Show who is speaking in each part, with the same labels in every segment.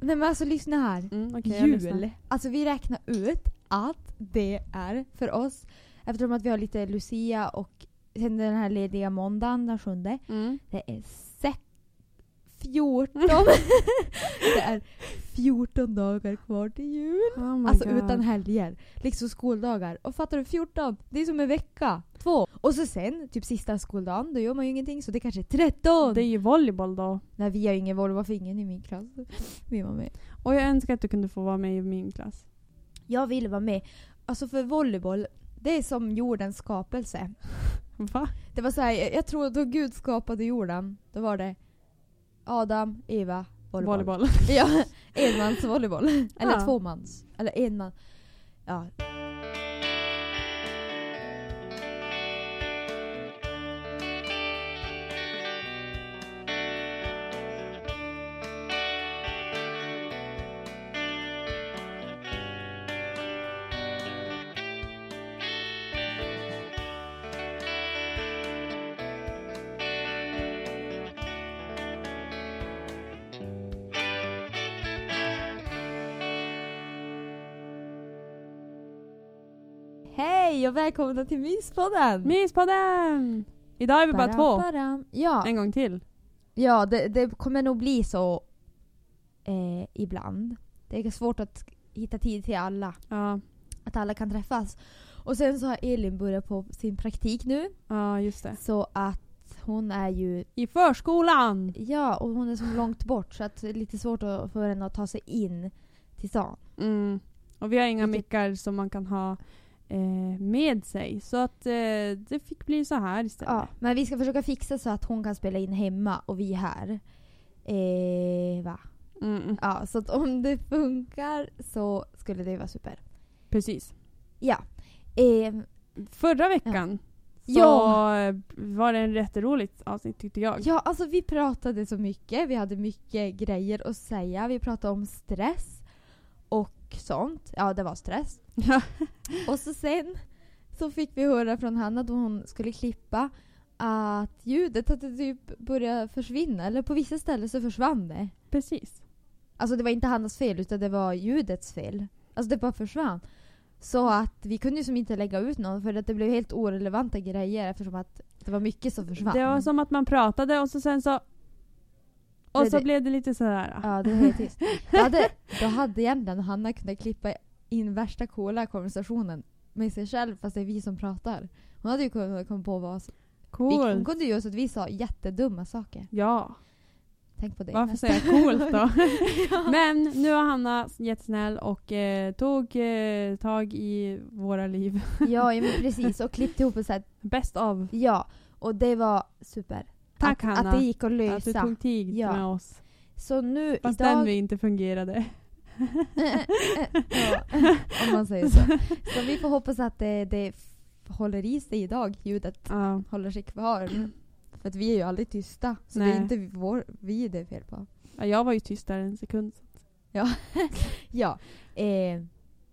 Speaker 1: Nej men alltså lyssna här.
Speaker 2: Mm, okej, jag lyssnar.
Speaker 1: Jul. Alltså vi räknar ut att det är för oss, eftersom att vi har lite Lucia och sen den här lediga måndagen den sjunde.
Speaker 2: Mm.
Speaker 1: Det är sex... 14. det är 14 dagar kvar till jul.
Speaker 2: Oh my
Speaker 1: alltså
Speaker 2: God.
Speaker 1: utan helger. Liksom skoldagar. Och fattar du, 14! Det är som en vecka. Två. Och så sen, typ sista skoldagen, då gör man ju ingenting så det kanske är 13.
Speaker 2: Det är ju volleyboll då.
Speaker 1: Nej vi har ju ingen Volvo för ingen i min klass vill vara med.
Speaker 2: Och jag önskar att du kunde få vara med i min klass.
Speaker 1: Jag vill vara med. Alltså för volleyboll, det är som jordens skapelse.
Speaker 2: Va?
Speaker 1: Det var så här, jag, jag tror då Gud skapade jorden, då var det Adam, Eva, volleyboll.
Speaker 2: Volleyboll. Mm.
Speaker 1: Ja, enmans volleyboll. Eller
Speaker 2: Ja.
Speaker 1: tvåmans. Eller enman. Ja. Hej och välkomna till Myspodden!
Speaker 2: Myspodden! Idag är vi bara två.
Speaker 1: Baram, baram. Ja,
Speaker 2: En gång till.
Speaker 1: ja det, det kommer nog bli så eh, ibland. Det är svårt att hitta tid till alla.
Speaker 2: Ja,
Speaker 1: Att alla kan träffas. Och sen så har Elin börjat på sin praktik nu.
Speaker 2: ja just det.
Speaker 1: Så att hon är ju,
Speaker 2: I förskolan!
Speaker 1: ja och hon är så långt bort så att det är lite svårt att, för henne att ta sig in till stan.
Speaker 2: Mm. Och vi har inga
Speaker 1: Vilket-
Speaker 2: mickar som man kan ha eh, med sig. Så att eh, det fick bli så här istället.
Speaker 1: Ja, men vi ska försöka fixa så att hon kan spela in hemma och vi här. Eh, va?
Speaker 2: Mm.
Speaker 1: Ja, så att om det funkar så skulle det vara super.
Speaker 2: Precis.
Speaker 1: Ja. Eh,
Speaker 2: Förra veckan så
Speaker 1: Ja.
Speaker 2: eh, var det en jätteroligt avsnitt tyckte jag.
Speaker 1: ja, alltså vi pratade så mycket. Vi hade mycket grejer att säga. Vi pratade om stress och sånt. Ja, det var stress.
Speaker 2: Ja.
Speaker 1: Och så sen så fick vi höra från Hanna då hon skulle klippa att ljudet hade typ börjat försvinna. Eller på vissa ställen så försvann det.
Speaker 2: Precis.
Speaker 1: Alltså det var inte Hannas fel utan det var ljudets fel. Alltså det bara försvann. Så att vi kunde ju som inte lägga ut någon för att det blev helt orelevanta grejer eftersom att det var mycket som försvann.
Speaker 2: Det var som att man pratade och så sen så... Och
Speaker 1: Det-
Speaker 2: så ah,
Speaker 1: det-
Speaker 2: blev det lite sådär.
Speaker 1: Ja, det var helt tyst. Då hade, då hade egentligen Hanna kunnat klippa in värsta coola konversationen med sig själv fast det är vi som pratar. Hon hade ju kunnat komma på vad som... Vi, hon
Speaker 2: Coolt.
Speaker 1: kunde ju göra så att vi sa jättedumma saker.
Speaker 2: Ja.
Speaker 1: Tänk på det.
Speaker 2: Varför säger jag coolt då? Men nu har Hanna jättesnäll och eh, tog eh, tag i våra liv.
Speaker 1: Ja, ja, men precis. Och klippt ihop och så här,
Speaker 2: Bäst av.
Speaker 1: ja. Och det var super.
Speaker 2: Tack
Speaker 1: att,
Speaker 2: Hanna.
Speaker 1: Att det gick att lösa.
Speaker 2: att du tog tid
Speaker 1: Ja.
Speaker 2: med oss.
Speaker 1: Så nu
Speaker 2: Fast den
Speaker 1: idag...
Speaker 2: vi inte fungerade.
Speaker 1: ja, om man säger så. Så vi får hoppas att det, det f- håller i sig idag, ljudet
Speaker 2: Ja.
Speaker 1: håller sig kvar. För att vi är ju aldrig tysta. Så det
Speaker 2: Nej.
Speaker 1: är inte vår, vi det är fel på.
Speaker 2: Ja, jag var ju tyst där en sekund.
Speaker 1: Ja. Eh,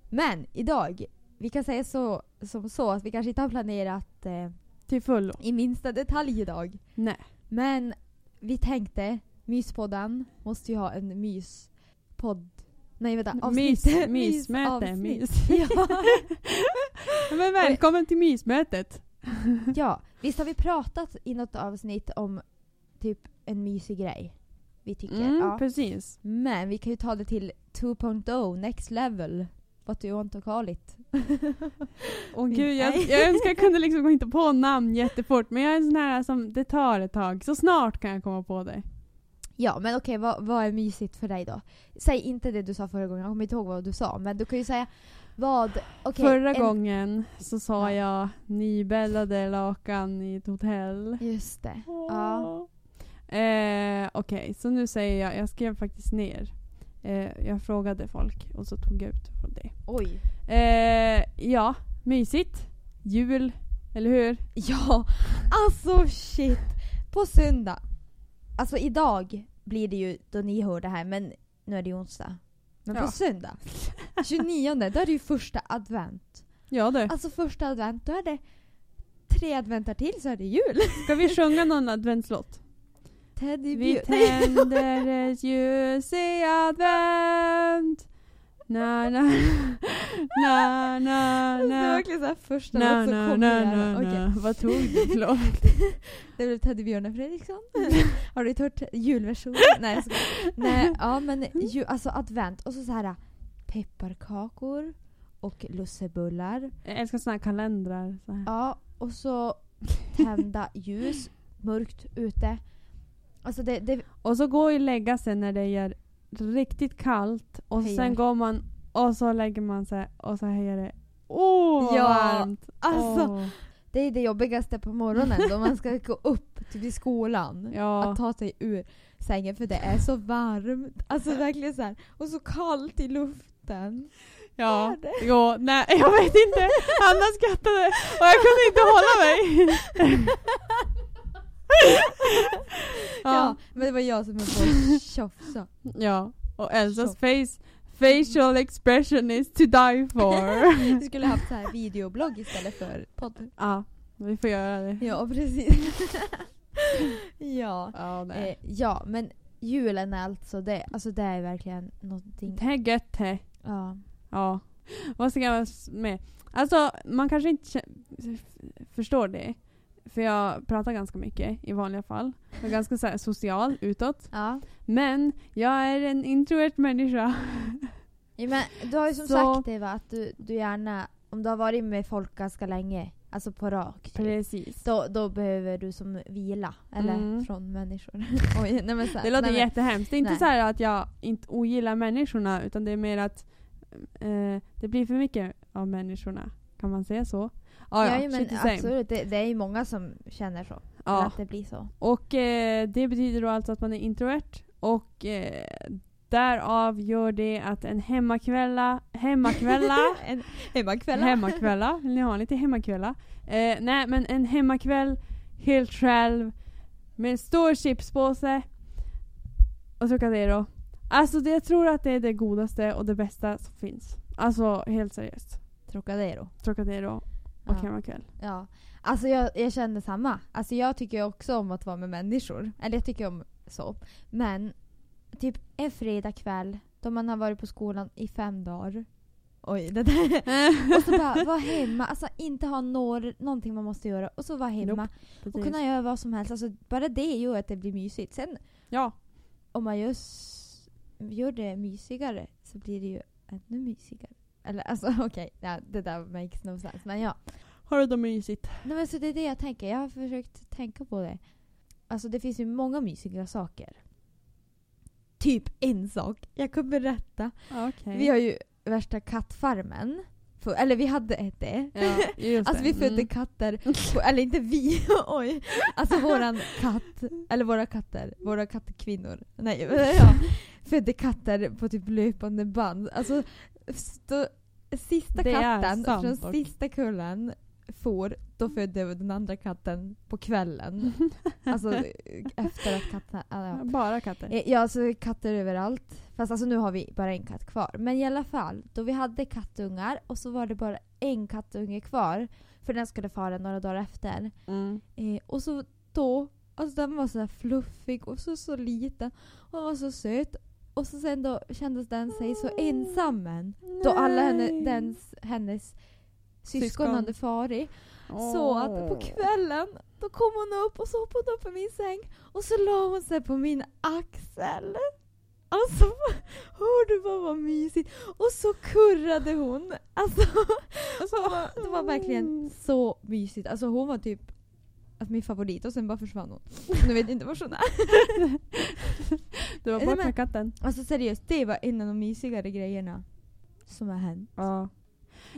Speaker 1: men idag, vi kan säga så, som så att vi kanske inte har planerat eh,
Speaker 2: Till fullo.
Speaker 1: i minsta detalj idag.
Speaker 2: Nej.
Speaker 1: Men vi tänkte, Myspodden måste ju ha en myspodd. Nej vänta, avsnitt.
Speaker 2: Mys, mysmöte.
Speaker 1: Mysavsnitt.
Speaker 2: Mys.
Speaker 1: Ja.
Speaker 2: Men välkommen till mysmötet.
Speaker 1: Ja, visst har vi pratat i något avsnitt om typ en mysig grej? Vi tycker.
Speaker 2: Mm,
Speaker 1: ja.
Speaker 2: Precis.
Speaker 1: Men vi kan ju ta det till 2.0, next level. What you want to call it.
Speaker 2: Åh gud, jag,
Speaker 1: Nej.
Speaker 2: jag önskar jag kunde liksom gå inte på namn jättefort. Men jag är en sån här som, det tar ett tag. Så snart kan jag komma på det.
Speaker 1: Ja, men okej, vad, vad är mysigt för dig då? Säg inte det du sa förra gången, jag kommer inte ihåg vad du sa. Men du kan ju säga vad... okej,
Speaker 2: Förra
Speaker 1: en-
Speaker 2: gången så sa jag nybäddade lakan i ett hotell.
Speaker 1: Just det. Ja.
Speaker 2: Eh, Okej, så nu säger jag, jag skrev faktiskt ner. Eh, jag frågade folk och så tog jag ut från det.
Speaker 1: Oj.
Speaker 2: Eh, ja, mysigt. Jul, eller hur?
Speaker 1: Ja, alltså shit. På söndag. Alltså idag blir det ju då ni hör det här men nu är det ju onsdag. Men på
Speaker 2: Ja.
Speaker 1: söndag 29 då är det ju första advent.
Speaker 2: Ja du.
Speaker 1: Alltså första advent då är det tre adventar till så är det jul.
Speaker 2: Ska vi sjunga någon adventslåt? Vi
Speaker 1: teddybjörn. Nej,
Speaker 2: tänder ett ljus i advent. Na, na, na, na,
Speaker 1: Det var
Speaker 2: na.
Speaker 1: verkligen såhär första
Speaker 2: Na,
Speaker 1: låt som
Speaker 2: na,
Speaker 1: kom
Speaker 2: na,
Speaker 1: i hjärnan.
Speaker 2: na,
Speaker 1: Okej.
Speaker 2: na. Vad tog du för låt?
Speaker 1: Det blev Teddybjörnen Fredriksson. Har du hört julversionen? Nej, jag skojar. Nej, ja men ju, alltså advent och så så här pepparkakor och lussebullar.
Speaker 2: Jag älskar såna här kalendrar. Så här.
Speaker 1: Ja, och så tända ljus, mörkt ute. Alltså det, det
Speaker 2: Och så går ju lägga sig när det är riktigt kallt och
Speaker 1: Hejar.
Speaker 2: sen går man och så lägger man sig och så hejar det. Åh, vad
Speaker 1: Ja,
Speaker 2: varmt!
Speaker 1: alltså
Speaker 2: Åh.
Speaker 1: det är det jobbigaste på morgonen då man ska gå upp typ i skolan.
Speaker 2: Ja.
Speaker 1: Att ta sig ur sängen för det är så varmt. Alltså verkligen så här. och så kallt i luften.
Speaker 2: Ja,
Speaker 1: Är det?
Speaker 2: jo, nej jag vet inte. Anna skrattade och jag kunde inte hålla mig.
Speaker 1: Ja.
Speaker 2: ja.
Speaker 1: men det var jag som höll på att tjafsa.
Speaker 2: ja, och Elsas face, facial expression is to die for.
Speaker 1: Vi skulle haft så här videoblogg istället för podd.
Speaker 2: ja, vi får göra det.
Speaker 1: Ja, precis. ja.
Speaker 2: Ja, nej.
Speaker 1: Eh, ja, men julen är alltså det. Alltså det är verkligen någonting.
Speaker 2: Det är gött det.
Speaker 1: Ja.
Speaker 2: Ja. Vad ska jag med? Alltså, man kanske inte kä- förstår det. För jag pratar ganska mycket i vanliga fall. Jag är ganska så här, social utåt.
Speaker 1: ja.
Speaker 2: Men jag är en introvert människa.
Speaker 1: Ja, men du har ju som
Speaker 2: Så-
Speaker 1: sagt det va, att du, du gärna, om du har varit med folk ganska länge, alltså på rak typ,
Speaker 2: Precis.
Speaker 1: då, då behöver du som vila, eller
Speaker 2: Mm.
Speaker 1: från människor. Oj, nej men så här,
Speaker 2: Det låter
Speaker 1: nej, men-
Speaker 2: jättehemskt. Det är inte
Speaker 1: Nej.
Speaker 2: så här att jag inte ogillar människorna utan det är mer att eh, det blir för mycket av människorna. Kan man säga så? Ah,
Speaker 1: Ja,
Speaker 2: ja,
Speaker 1: ja,
Speaker 2: shit the
Speaker 1: men
Speaker 2: same.
Speaker 1: absolut, det, det är ju många som känner så.
Speaker 2: Ja.
Speaker 1: Att det blir så.
Speaker 2: Och eh, det betyder då alltså att man är introvert. Och eh, därav gör det att en hemmakvälla, hemmakvälla,
Speaker 1: en hemmakvälla.
Speaker 2: hemmakvälla, vill ni ha en lite hemmakvälla? Eh, nej men en hemmakväll helt själv med en stor chipspåse och Trocadero. Alltså det, jag tror att det är det godaste och det bästa som finns. Alltså helt seriöst.
Speaker 1: Trocadero.
Speaker 2: Trocadero
Speaker 1: Ja.
Speaker 2: och hemmakväll.
Speaker 1: Ja. Alltså jag, jag känner samma. Alltså jag tycker ju också om att vara med människor. Eller jag tycker om så. Men typ en fredagkväll då man har varit på skolan i fem dagar. Oj, det där. Och så bara vara hemma. Alltså inte ha några, någonting man måste göra. Och så vara hemma. Och kunna göra vad som helst. Alltså bara det gör att det blir mysigt. Sen
Speaker 2: Ja.
Speaker 1: om man just gör det mysigare så blir det ju ännu mysigare. Eller alltså okej, ja, det där makes no sense. Men ja.
Speaker 2: Har du då mysigt?
Speaker 1: Nej, men så det är det jag tänker. Jag har försökt tänka på det. Alltså det finns ju många mysiga saker. Typ en sak. Jag kan berätta.
Speaker 2: Okej.
Speaker 1: Vi har ju värsta kattfarmen. För, eller vi hade ett det.
Speaker 2: Ja, just
Speaker 1: Alltså
Speaker 2: det.
Speaker 1: vi födde
Speaker 2: Mm.
Speaker 1: katter, på, eller inte vi, oj. Alltså våran katt, eller våra katter, våra kattkvinnor. Nej, ja. Födde katter på typ löpande band. Alltså stå, sista
Speaker 2: Det är
Speaker 1: katten
Speaker 2: sant
Speaker 1: från
Speaker 2: dock.
Speaker 1: sista kullen får, då födde den andra katten på kvällen. Alltså efter att katten, ja, ja.
Speaker 2: Bara katter.
Speaker 1: Eh, Ja, alltså katter överallt. Fast alltså nu har vi bara en katt kvar. Men i alla fall, då vi hade kattungar och så var det bara en kattunge kvar. För den skulle fara några dagar efter.
Speaker 2: Mm.
Speaker 1: Eh, och så då, alltså den var så här fluffig och så, så liten. Och den var så söt. Och så sen då kändes den sig så
Speaker 2: Mm.
Speaker 1: ensammen. Då alla henne,
Speaker 2: Nej.
Speaker 1: dens, hennes syskon,
Speaker 2: Syskon.
Speaker 1: hade farit. Så att på
Speaker 2: Åh.
Speaker 1: kvällen, då kom hon upp och så hoppade hon upp i min säng och så la hon sig på min axel. Alltså, hör du vad var mysigt? Och så kurrade hon. Alltså, hon var, det var verkligen så mysigt. Alltså hon var typ alltså, min favorit och sen bara försvann hon. Nu vet jag inte var hon är.
Speaker 2: Du var
Speaker 1: Nej,
Speaker 2: bort
Speaker 1: men-
Speaker 2: med katten.
Speaker 1: Alltså seriöst, det var en av de mysigare grejerna som har hänt.
Speaker 2: Ja.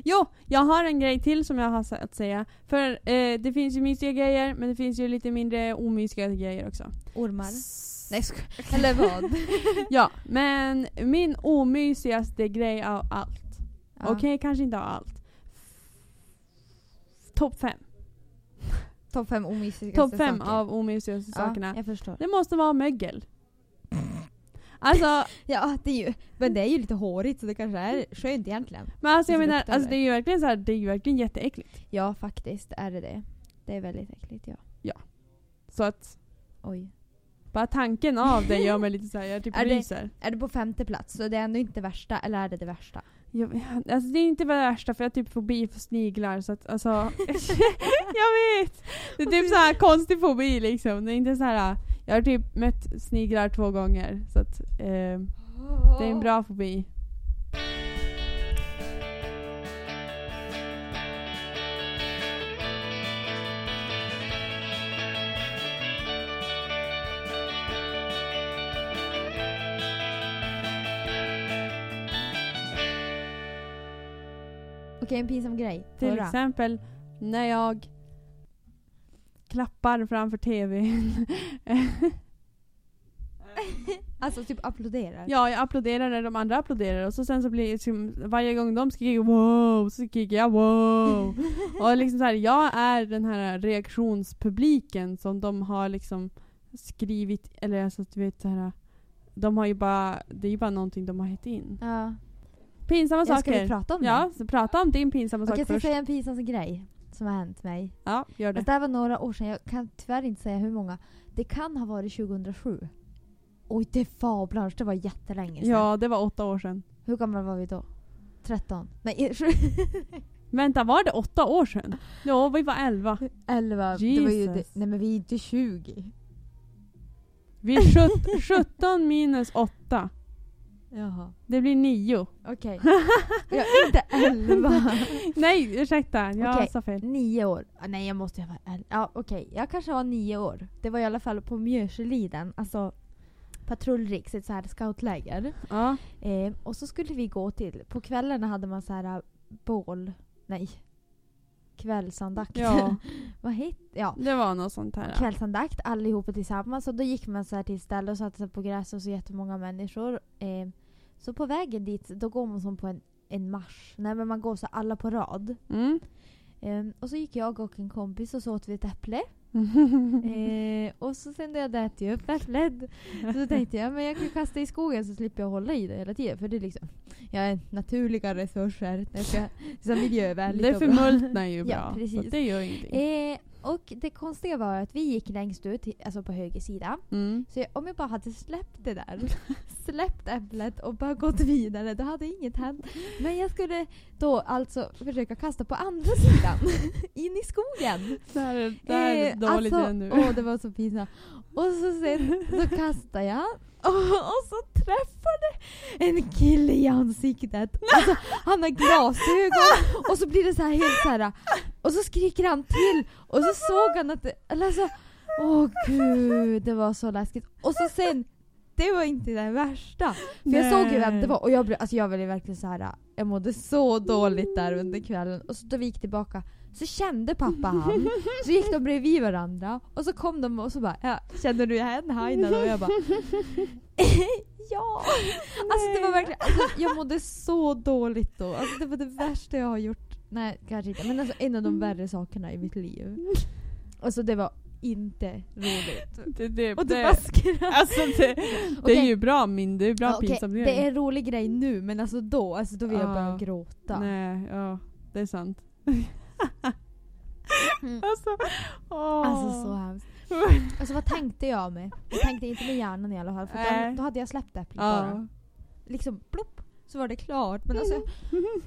Speaker 2: Jo, jag har en grej till som jag har sa- att säga. För eh, det finns ju mysiga grejer, men det finns ju lite mindre omysiga grejer också.
Speaker 1: Ormar.
Speaker 2: S-
Speaker 1: Nej, sko- Eller vad?
Speaker 2: Ja, men min omysigaste grej av allt.
Speaker 1: Ja.
Speaker 2: Okej, kanske inte av allt. Topp fem.
Speaker 1: Topp fem omysigaste
Speaker 2: Topp fem
Speaker 1: saker.
Speaker 2: av omysigaste sakerna.
Speaker 1: Ja, jag förstår.
Speaker 2: Det måste vara mögel. Alltså,
Speaker 1: Ja, det är ju, men det är ju lite hårigt så det kanske är skönt egentligen.
Speaker 2: men alltså jag
Speaker 1: Det
Speaker 2: menar,
Speaker 1: luktar
Speaker 2: alltså
Speaker 1: det.
Speaker 2: det är ju verkligen så här, det är ju verkligen jätteäckligt.
Speaker 1: Ja, faktiskt är det det. Det är väldigt äckligt, ja.
Speaker 2: Så att,
Speaker 1: Oj.
Speaker 2: Bara tanken av det gör mig lite såhär, jag typ
Speaker 1: Är det-
Speaker 2: ryser.
Speaker 1: Är det på femte plats? Så det är ändå inte värsta, eller är det det värsta?
Speaker 2: Jag, alltså det är inte det värsta för jag har typ fobi för sniglar så att alltså Jag vet! Det är typ så här konstig fobi liksom. Det är inte så här. Jag har typ mött sniglar två gånger så att eh, det är en bra fobi.
Speaker 1: Okej, en pinsam grej.
Speaker 2: Till
Speaker 1: Förra.
Speaker 2: exempel när jag klappar framför TVn.
Speaker 1: Alltså typ applåderar.
Speaker 2: ja, jag applåderar när de andra applåderar och så sen så blir det som, varje gång de skriker wow så skriker jag wow. och liksom så här, jag är den här reaktionspubliken som de har liksom skrivit, eller alltså du vet så här. De har ju bara, det är ju bara någonting de har hittat in.
Speaker 1: Ja.
Speaker 2: Pinsamma
Speaker 1: Ja, ska
Speaker 2: saker.
Speaker 1: vi prata om
Speaker 2: Ja,
Speaker 1: det?
Speaker 2: så prata om din pinsamma
Speaker 1: Okej, jag
Speaker 2: sak
Speaker 1: ska
Speaker 2: först.
Speaker 1: säga en pinsam grej som har hänt mig.
Speaker 2: Ja, gör det.
Speaker 1: Fast det här var några år sedan, jag kan tyvärr inte säga hur många. Det kan ha varit 2007. Oj, det fablar. Det var jättelänge sedan.
Speaker 2: Ja, det var åtta år sedan.
Speaker 1: Hur gamla var vi då? 13? Nej,
Speaker 2: Vänta, var det åtta år sedan? Ja, vi var elva.
Speaker 1: 11. Det var ju
Speaker 2: Jesus.
Speaker 1: det. Nej men vi är inte 20.
Speaker 2: Vi är sjut- 17 minus åtta.
Speaker 1: Jaha.
Speaker 2: Det blir nio.
Speaker 1: Okej. Jag är inte 11.
Speaker 2: Nej, ursäkta. Jag
Speaker 1: Okej.
Speaker 2: sa fel.
Speaker 1: Nio år. Ah, nej, jag måste ju vara äldre. Ja, okej. Jag kanske var nio år. Det var i alla fall på Mjöseliden. Alltså patrullriks, ett så här scoutläger.
Speaker 2: Ja.
Speaker 1: Eh, och så skulle vi gå till... På kvällarna hade man så här äh, bål... Nej. Kvällsandakt.
Speaker 2: ja,
Speaker 1: Vad hette... Ja.
Speaker 2: det var något sånt här. ja.
Speaker 1: Kvällsandakt allihopa tillsammans. Och då gick man så här till ställe och satte sig på gräs och så jättemånga människor. Eh, så på vägen dit, då går man som på en, en marsch. Nej men man går så alla på rad.
Speaker 2: Mm.
Speaker 1: Ehm, och så gick jag och en kompis och så åt vi ett äpple. Ehm, och så sen när jag hade ätit upp äpplet så tänkte jag men jag kan kasta i skogen så slipper jag hålla i det hela tiden. För det är liksom, jag är naturliga resurser. Jag ska, så miljövänligt
Speaker 2: det
Speaker 1: och bra.
Speaker 2: förmultnar ju bra.
Speaker 1: Ja, precis.
Speaker 2: så det gör ingenting.
Speaker 1: Ehm, och det konstiga var att vi gick längst ut, alltså på höger sida.
Speaker 2: Mm.
Speaker 1: Så jag, om jag bara hade släppt det där, släppt äpplet och bara gått vidare, då hade inget hänt. Men jag skulle då alltså försöka kasta på andra sidan, in i skogen.
Speaker 2: Där, är- där är
Speaker 1: Eh,
Speaker 2: dåligt
Speaker 1: alltså,
Speaker 2: ännu.
Speaker 1: Åh, det var så pinsamt. Och så sen så kastar jag och, och så träffade en kille i ansiktet. Alltså, han har glasögon och så blir det så här helt så här. Och så skriker han till och så såg han att det, eller alltså, åh gud, det var så läskigt. Och så sen, det var inte det värsta. För jag såg ju vem det var och jag, blev, alltså jag blev verkligen så här. jag mådde så dåligt där under kvällen. Och så då vi gick tillbaka så kände pappa han. Så gick de bredvid varandra och så kom de och så bara ja, “Känner du igen Hainen?” och jag bara “Ja!” Alltså det var verkligen, alltså, jag mådde så dåligt då. Alltså, det var det värsta jag har gjort. Nej, kanske inte. Men alltså en av de värre sakerna i mitt liv. Alltså det var inte roligt.
Speaker 2: Det, det,
Speaker 1: Och du
Speaker 2: det-
Speaker 1: bara skrattar.
Speaker 2: alltså det, det är
Speaker 1: Okej.
Speaker 2: ju bra min, det är bra
Speaker 1: Ja, okej,
Speaker 2: pinsamt.
Speaker 1: det är en rolig grej nu men alltså då, alltså då vill jag börja
Speaker 2: Ja.
Speaker 1: gråta.
Speaker 2: Nej, ja. Det är sant.
Speaker 1: Mm.
Speaker 2: Alltså, åh.
Speaker 1: Alltså så hemskt. Alltså vad tänkte jag med? Jag tänkte inte med hjärnan i alla fall för
Speaker 2: Nej.
Speaker 1: då, då hade jag släppt äpplet bara.
Speaker 2: ja.
Speaker 1: liksom plopp så var det klart. Men alltså,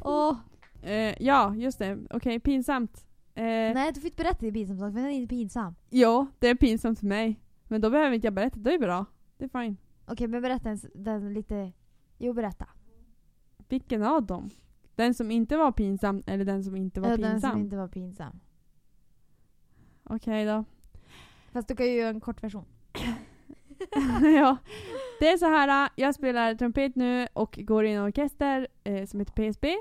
Speaker 1: åh,
Speaker 2: Eh, ja, just det. Okej, pinsamt. Eh,
Speaker 1: nej du får inte berätta det pinsamt för den är inte pinsam.
Speaker 2: ja, det är pinsamt för mig. Men då behöver inte jag berätta, det är bra. Det är fine.
Speaker 1: Okej men berätta ens den lite, jo berätta.
Speaker 2: Vilken av dem? Den som inte var pinsam eller den som inte var
Speaker 1: Ja, den
Speaker 2: pinsam?
Speaker 1: som inte var pinsam.
Speaker 2: Okej då.
Speaker 1: Fast du kan ju göra en kort version.
Speaker 2: ja. Det är så här, eh, jag spelar trumpet nu och går i en orkester eh, som heter PSB.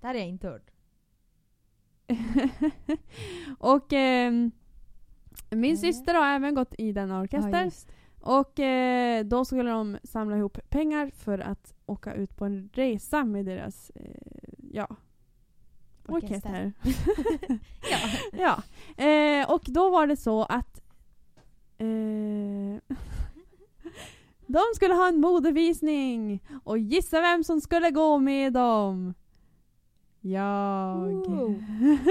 Speaker 1: Det här är jag inte hört.
Speaker 2: och ehm, min
Speaker 1: Mm.
Speaker 2: syster har även gått i denna orkester.
Speaker 1: just.
Speaker 2: Och eh, då skulle de samla ihop pengar för att åka ut på en resa med deras eh, ja, orkester.
Speaker 1: Orkester. Ja.
Speaker 2: ja. Eh, och då var det så att eh, de skulle ha en modevisning och gissa vem som skulle gå med dem. Jag.
Speaker 1: Wow.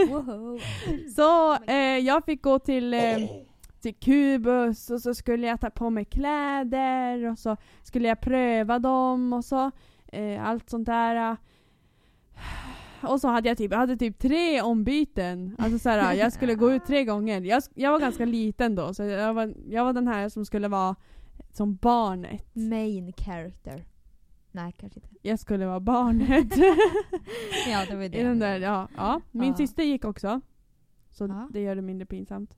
Speaker 1: Wow.
Speaker 2: Så eh, jag fick gå till eh, till Kubus och så skulle jag ta på mig kläder och så skulle jag pröva dem och så. Eh, allt sånt där. Och så hade jag typ, jag hade typ tre ombyten. Alltså så här, jag skulle gå ut tre gånger. Jag, sk- jag var ganska liten då, så jag var, jag var den här som skulle vara som barnet.
Speaker 1: Main character. Nej, kanske inte.
Speaker 2: Jag skulle vara barnet.
Speaker 1: Ja, det var ju det.
Speaker 2: I den där, ja, ja. Min
Speaker 1: Ja.
Speaker 2: syster gick också. Så
Speaker 1: Ja.
Speaker 2: det gör det mindre pinsamt.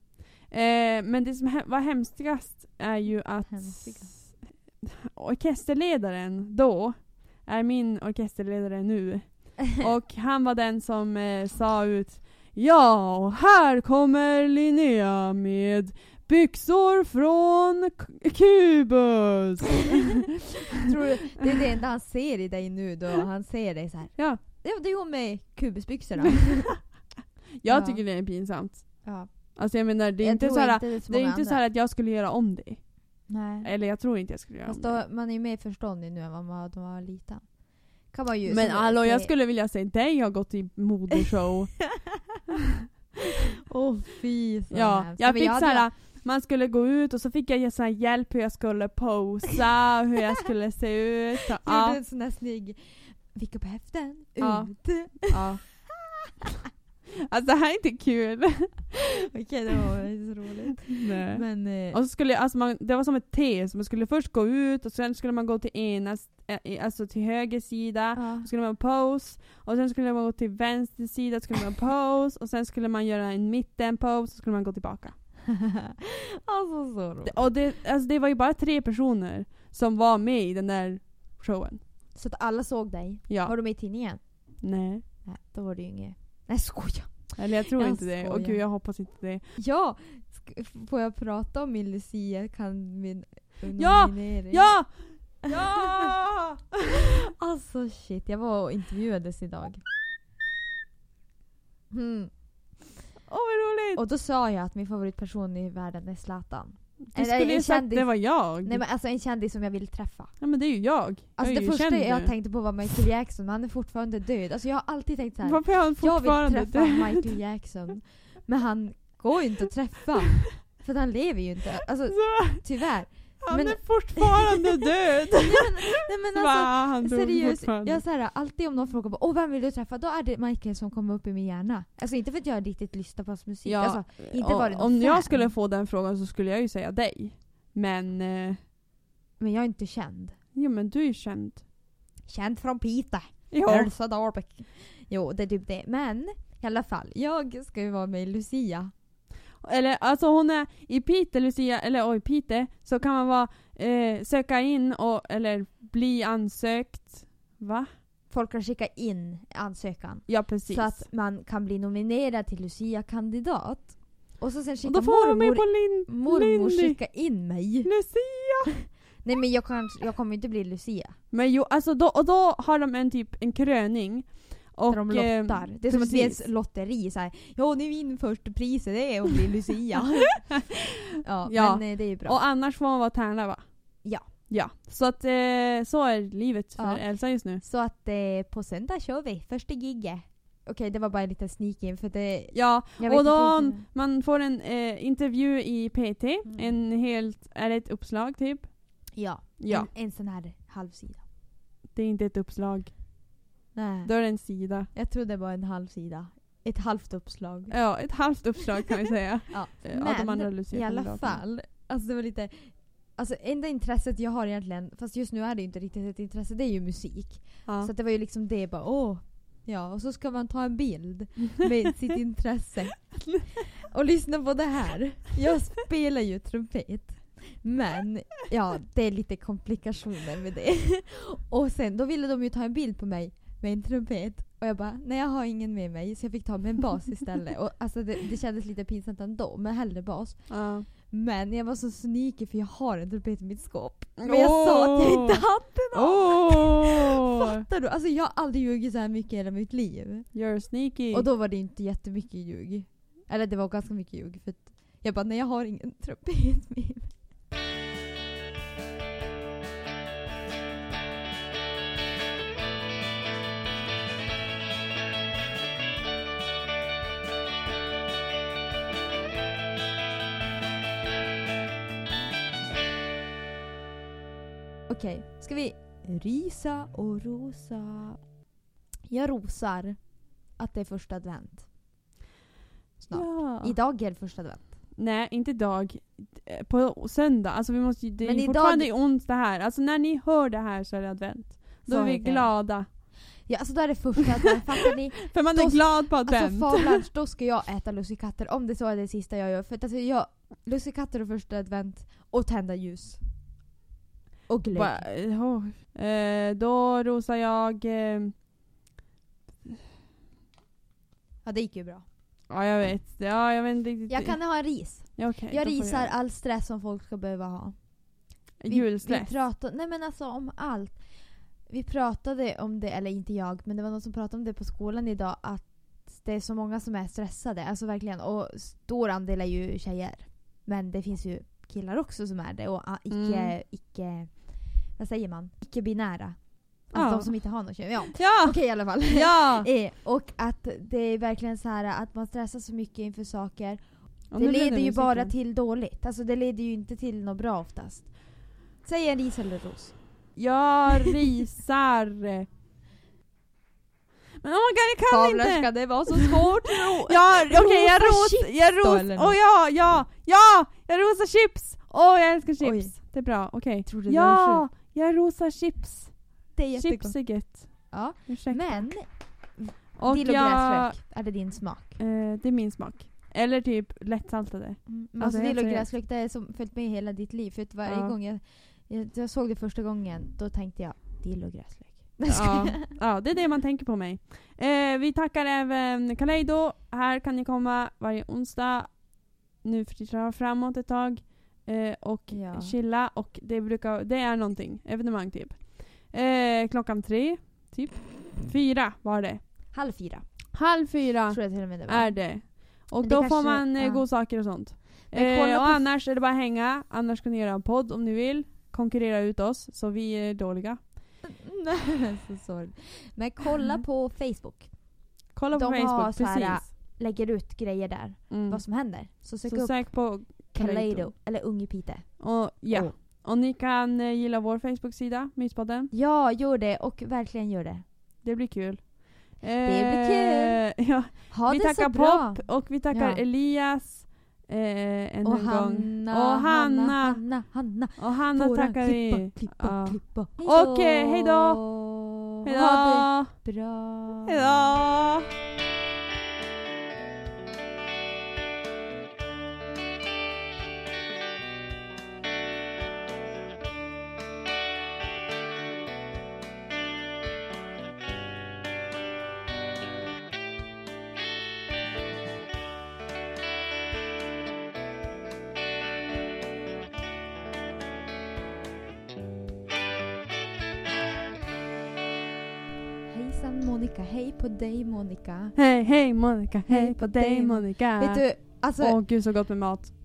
Speaker 2: Eh, men det som he- var hemskast är ju att
Speaker 1: Hemskast.
Speaker 2: orkesterledaren då är min orkesterledare nu. Och han var den som eh, sa ut Ja, och här kommer Linnea med byxor från K- Kubus.
Speaker 1: Tror du, det är det enda han ser i dig nu då. Han ser dig så här.
Speaker 2: Ja.
Speaker 1: Ja, det är hon med kubusbyxorna.
Speaker 2: Jag
Speaker 1: Ja.
Speaker 2: tycker det är pinsamt.
Speaker 1: Ja.
Speaker 2: Alltså jag menar, det är
Speaker 1: Jag
Speaker 2: inte
Speaker 1: tror
Speaker 2: så här,
Speaker 1: det är så
Speaker 2: det är
Speaker 1: många
Speaker 2: inte så
Speaker 1: andra.
Speaker 2: här att jag skulle göra om det.
Speaker 1: Nej.
Speaker 2: Eller jag tror inte jag skulle göra
Speaker 1: Fast
Speaker 2: om
Speaker 1: då,
Speaker 2: det.
Speaker 1: man är ju mer förståndig nu än vad man var när man var liten. Kan man ju,
Speaker 2: Men
Speaker 1: som-
Speaker 2: hallå, jag
Speaker 1: det-
Speaker 2: skulle vilja se dig ha gått i modeshow.
Speaker 1: Åh fy så
Speaker 2: ja,
Speaker 1: hemskt.
Speaker 2: jag
Speaker 1: Men
Speaker 2: fick
Speaker 1: hade-
Speaker 2: såhär, man skulle gå ut och så fick jag ge sån här hjälp hur jag skulle posa, hur jag skulle se ut. Så,
Speaker 1: Jag gjorde
Speaker 2: ja,
Speaker 1: en sån där snygg Vick upp häften,
Speaker 2: Ja.
Speaker 1: ut.
Speaker 2: ja. Alltså det här är inte kul.
Speaker 1: Okej det var så roligt.
Speaker 2: Nej.
Speaker 1: Men eh,
Speaker 2: Och så skulle, jag- alltså man, det var som ett T, så man skulle först gå ut och sen skulle man gå till ena, eh, alltså till höger sida.
Speaker 1: ja.
Speaker 2: Då skulle man pose, och sen skulle man gå till vänster sida, skulle man pose, och sen skulle man göra en mitten pose, så skulle man gå tillbaka.
Speaker 1: alltså så roligt.
Speaker 2: Det- Och det, alltså det var ju bara tre personer som var med i den där showen.
Speaker 1: Så att alla såg dig.
Speaker 2: Ja.
Speaker 1: Var du med i tidningen?
Speaker 2: Nej.
Speaker 1: Nej, då var det ju inget. Nej skoja.
Speaker 2: Eller jag tror
Speaker 1: Jag
Speaker 2: inte det. Och
Speaker 1: skojar.
Speaker 2: gud, jag hoppas inte det.
Speaker 1: Ja! Sk- får jag prata om min Lucia? Kan min
Speaker 2: Ja!
Speaker 1: nominering?
Speaker 2: Ja!
Speaker 1: Ah!
Speaker 2: Ja!
Speaker 1: Alltså shit, jag var och intervjuades idag. Mm.
Speaker 2: Åh vad roligt!
Speaker 1: Och då sa jag att min favoritperson i världen är Zlatan.
Speaker 2: Du
Speaker 1: eller en
Speaker 2: skulle ju sagt att
Speaker 1: kändis.
Speaker 2: det var jag.
Speaker 1: Nej men alltså en kändis som jag vill träffa.
Speaker 2: Ja men det är ju jag.
Speaker 1: Alltså
Speaker 2: jag är
Speaker 1: det
Speaker 2: ju
Speaker 1: första
Speaker 2: känd
Speaker 1: jag
Speaker 2: nu.
Speaker 1: tänkte på var Michael Jackson, men han är fortfarande död. Alltså jag har alltid tänkt så här.
Speaker 2: Varför är han
Speaker 1: jag vill
Speaker 2: fortfarande
Speaker 1: träffa
Speaker 2: död?
Speaker 1: Michael Jackson. Men han går ju inte att träffa. För att han lever ju inte. Alltså
Speaker 2: Så,
Speaker 1: tyvärr.
Speaker 2: Han
Speaker 1: Men-
Speaker 2: är fortfarande död!
Speaker 1: Nej men, nej, men alltså
Speaker 2: Va, han dog
Speaker 1: seriöst.
Speaker 2: fortfarande.
Speaker 1: Jag så här, alltid om någon frågar bara, Åh, vem vill du träffa? Då är det Michael som kommer upp i min hjärna. Alltså inte för att jag riktigt lyssnar på hans musik. Alltså, inte
Speaker 2: om,
Speaker 1: varit någon
Speaker 2: om
Speaker 1: fan.
Speaker 2: jag skulle få den frågan så skulle jag ju säga dig. Men, eh,
Speaker 1: men jag är inte känd.
Speaker 2: jo men du är ju känd.
Speaker 1: Känd från Piteå.
Speaker 2: Ja.
Speaker 1: Elsa Dahlbeck. Jo, det är typ det. Men i alla fall, jag ska ju vara med i Lucia.
Speaker 2: Eller alltså hon är i Piteå, Lucia, eller oj Piteå, så kan man vara, eh, söka in och, eller bli ansökt. Va?
Speaker 1: Folk kan skicka in ansökan.
Speaker 2: Ja precis.
Speaker 1: Så att man kan bli nominerad till Lucia-kandidat. Och så sen
Speaker 2: och
Speaker 1: skickar
Speaker 2: då får hon med
Speaker 1: mormor,
Speaker 2: på Lin-
Speaker 1: mormor
Speaker 2: Lindy.
Speaker 1: skicka in mig.
Speaker 2: Lucia!
Speaker 1: Nej men jag, kan, jag kommer ju inte bli Lucia.
Speaker 2: Men jo, alltså då, och då har de en typ en kröning. Och,
Speaker 1: där de
Speaker 2: eh,
Speaker 1: lottar. Det är som att det är
Speaker 2: precis.
Speaker 1: ett lotteri. Så här, ja, nu vinner första priset, det är att bli Lucia. ja,
Speaker 2: Ja.
Speaker 1: men eh, det är ju bra.
Speaker 2: Och annars får man vara tärna va?
Speaker 1: Ja.
Speaker 2: Ja, så att eh, så är livet för
Speaker 1: Ja.
Speaker 2: Elsa just nu.
Speaker 1: Så att eh, på söndag kör vi, första gigget. Okej, det var bara en liten sneak in för det...
Speaker 2: Ja,
Speaker 1: Jag vet
Speaker 2: och då
Speaker 1: inte, riktigt- Mm.
Speaker 2: man får en eh, intervju i PT, en helt, är det ett uppslag typ?
Speaker 1: ja,
Speaker 2: Ja,
Speaker 1: En, en sån här halvsida.
Speaker 2: det är inte ett uppslag.
Speaker 1: Nej,
Speaker 2: Då är det en sida.
Speaker 1: jag tror det var en halvsida. Ett halvt uppslag.
Speaker 2: Ja, ett halvt uppslag kan vi säga.
Speaker 1: Ja.
Speaker 2: Eh, av de andra
Speaker 1: Men
Speaker 2: Lucia
Speaker 1: i alla
Speaker 2: kandidaterna.
Speaker 1: fall, alltså det var lite... Alltså enda intresset jag har egentligen, fast just nu är det ju inte riktigt ett intresse, det är ju musik.
Speaker 2: Ja.
Speaker 1: Så att det var ju liksom det bara åh. Ja, och så ska man ta en bild med sitt intresse. Och lyssna på det här. Jag spelar ju trumpet. Men ja, det är lite komplikationer med det. Och sen då ville de ju ta en bild på mig med en trumpet. Och jag bara, nej jag har ingen med mig så jag fick ta med en bas istället. Och alltså det, det kändes lite pinsamt ändå, men hellre bas.
Speaker 2: Ja.
Speaker 1: Men jag var så sneaky för jag har en trumpet i mitt skåp. Men jag sa att jag inte hade någon.
Speaker 2: Åh!
Speaker 1: Fattar du? Alltså jag har aldrig ljugit så här mycket i hela mitt liv.
Speaker 2: You're sneaky.
Speaker 1: Och då var det inte jättemycket ljug. Eller det var ganska mycket ljug för att jag bara nej jag har ingen trumpet med mig. Okej, ska vi risa och rosa? Jag rosar att det är första advent. Snart.
Speaker 2: Ja.
Speaker 1: Idag är det första advent.
Speaker 2: Nej, inte idag. Eh, På söndag. Alltså vi måste ju, det är
Speaker 1: Men
Speaker 2: ju
Speaker 1: idag-
Speaker 2: fortfarande onsdag här. Alltså när ni hör det här så är det advent. Då är
Speaker 1: Så
Speaker 2: vi
Speaker 1: det.
Speaker 2: glada.
Speaker 1: Ja, alltså då är det första advent, fattar ni?
Speaker 2: För man
Speaker 1: Då-
Speaker 2: är glad på
Speaker 1: Alltså
Speaker 2: advent.
Speaker 1: fablars, då ska jag äta lussekatter om det så är det sista jag gör. För att alltså, jag, lussekatter och första advent och tända ljus. Och glögg.
Speaker 2: Bara, eh, åh. eh, då rosar jag... Eh,
Speaker 1: Ja det gick ju bra.
Speaker 2: ja, jag vet. Ja, jag vet inte riktigt.
Speaker 1: Jag kan ha en ris.
Speaker 2: Ja, okej,
Speaker 1: Jag
Speaker 2: då får
Speaker 1: risar all stress som folk ska behöva ha.
Speaker 2: Julstress.
Speaker 1: Vi pratade, nej men alltså om allt. Vi pratade om det, eller inte jag, men det var någon som pratade om det på skolan idag att det är så många som är stressade. Alltså verkligen. Och stor andel är ju tjejer. Men det finns ju killar också som är det. Och ah, icke,
Speaker 2: Mm.
Speaker 1: icke, vad säger man? Icke-binära. Alltså
Speaker 2: Ja.
Speaker 1: de som inte har någon kön. Ja, okej
Speaker 2: Ja!
Speaker 1: i alla fall.
Speaker 2: Ja!
Speaker 1: Eh, och att det är verkligen så här att man stressar så mycket inför saker.
Speaker 2: Och
Speaker 1: det
Speaker 2: nu blev
Speaker 1: leder ju
Speaker 2: musiken.
Speaker 1: bara till dåligt. Alltså det leder ju inte till något bra oftast. Säg en ris eller ros.
Speaker 2: Jag risar... Men oh my god, jag kan inte!
Speaker 1: det vara så svårt?
Speaker 2: Ja, okej jag
Speaker 1: Rosa
Speaker 2: ros,
Speaker 1: chips
Speaker 2: jag
Speaker 1: då,
Speaker 2: ros,
Speaker 1: eller
Speaker 2: åh
Speaker 1: något?
Speaker 2: ja, ja, ja! Jag rosar chips! Åh jag älskar chips! Det är bra, okej.
Speaker 1: Trodde det var
Speaker 2: Ja, jag rosar chips.
Speaker 1: Det är jättegott.
Speaker 2: Chips är gött.
Speaker 1: Ja.
Speaker 2: Ursäkta.
Speaker 1: Men
Speaker 2: och
Speaker 1: dill och
Speaker 2: jag,
Speaker 1: gräslök är det din smak.
Speaker 2: eh, Det är min smak. Eller typ lättsaltade.
Speaker 1: Men
Speaker 2: Alltså,
Speaker 1: alltså dill och
Speaker 2: helt
Speaker 1: gräslök det är som följt med hela ditt liv. För att varje
Speaker 2: Ja.
Speaker 1: gång jag, jag, jag såg det första gången då tänkte jag dill och gräslök.
Speaker 2: Ja, ja, det är det man tänker på mig. Eh, vi tackar även Kaleido. Här kan ni komma varje onsdag. Nu förtittar jag framåt ett tag. Eh, och
Speaker 1: Ja.
Speaker 2: chilla. Och det, brukar, det är någonting. Evenemang typ. Eh, klockan tre, typ. Fyra var det.
Speaker 1: Halv fyra
Speaker 2: Halv fyra
Speaker 1: tror jag till och med det var.
Speaker 2: är det. Och
Speaker 1: Men det
Speaker 2: då får
Speaker 1: kanske-
Speaker 2: man eh,
Speaker 1: ja.
Speaker 2: godsaker och sånt.
Speaker 1: Men
Speaker 2: Eh,
Speaker 1: kolla på-
Speaker 2: och annars är det bara att hänga. Annars kan ni göra en podd om ni vill. Konkurrera ut oss, så vi är dåliga.
Speaker 1: Nej, så sorry. Men kolla på Facebook.
Speaker 2: Kolla
Speaker 1: De
Speaker 2: på
Speaker 1: har
Speaker 2: Facebook,
Speaker 1: så här,
Speaker 2: precis.
Speaker 1: Lägger ut grejer där.
Speaker 2: Mm.
Speaker 1: Vad som händer. Så sök
Speaker 2: Så
Speaker 1: upp
Speaker 2: sök på
Speaker 1: Kaleido eller Ung i Piteå.
Speaker 2: Och, ja.
Speaker 1: Och-
Speaker 2: och ni kan eh, gilla vår Facebook-sida, Myspodden.
Speaker 1: Ja, gör det och verkligen gör det.
Speaker 2: Det blir kul.
Speaker 1: blir
Speaker 2: kul! Ja.
Speaker 1: Ha
Speaker 2: vi
Speaker 1: det
Speaker 2: tackar
Speaker 1: så bra.
Speaker 2: Pop och vi tackar
Speaker 1: Ja.
Speaker 2: Elias eh, än
Speaker 1: Och
Speaker 2: en gång.
Speaker 1: Hanna,
Speaker 2: Och Hanna.
Speaker 1: Hanna, Hanna.
Speaker 2: Och Hanna
Speaker 1: Våran
Speaker 2: tackar
Speaker 1: klippa,
Speaker 2: vi.
Speaker 1: klippa,
Speaker 2: Ja.
Speaker 1: klippa.
Speaker 2: Och, eh, hejdå. Hejdå!
Speaker 1: Ha det bra.
Speaker 2: Hejdå!
Speaker 1: Hejsan Monica, hej på dig Monica.
Speaker 2: Hej, hej Monica, hej på dig Monica.
Speaker 1: Vet du, alltså
Speaker 2: Åh gud så gott med mat.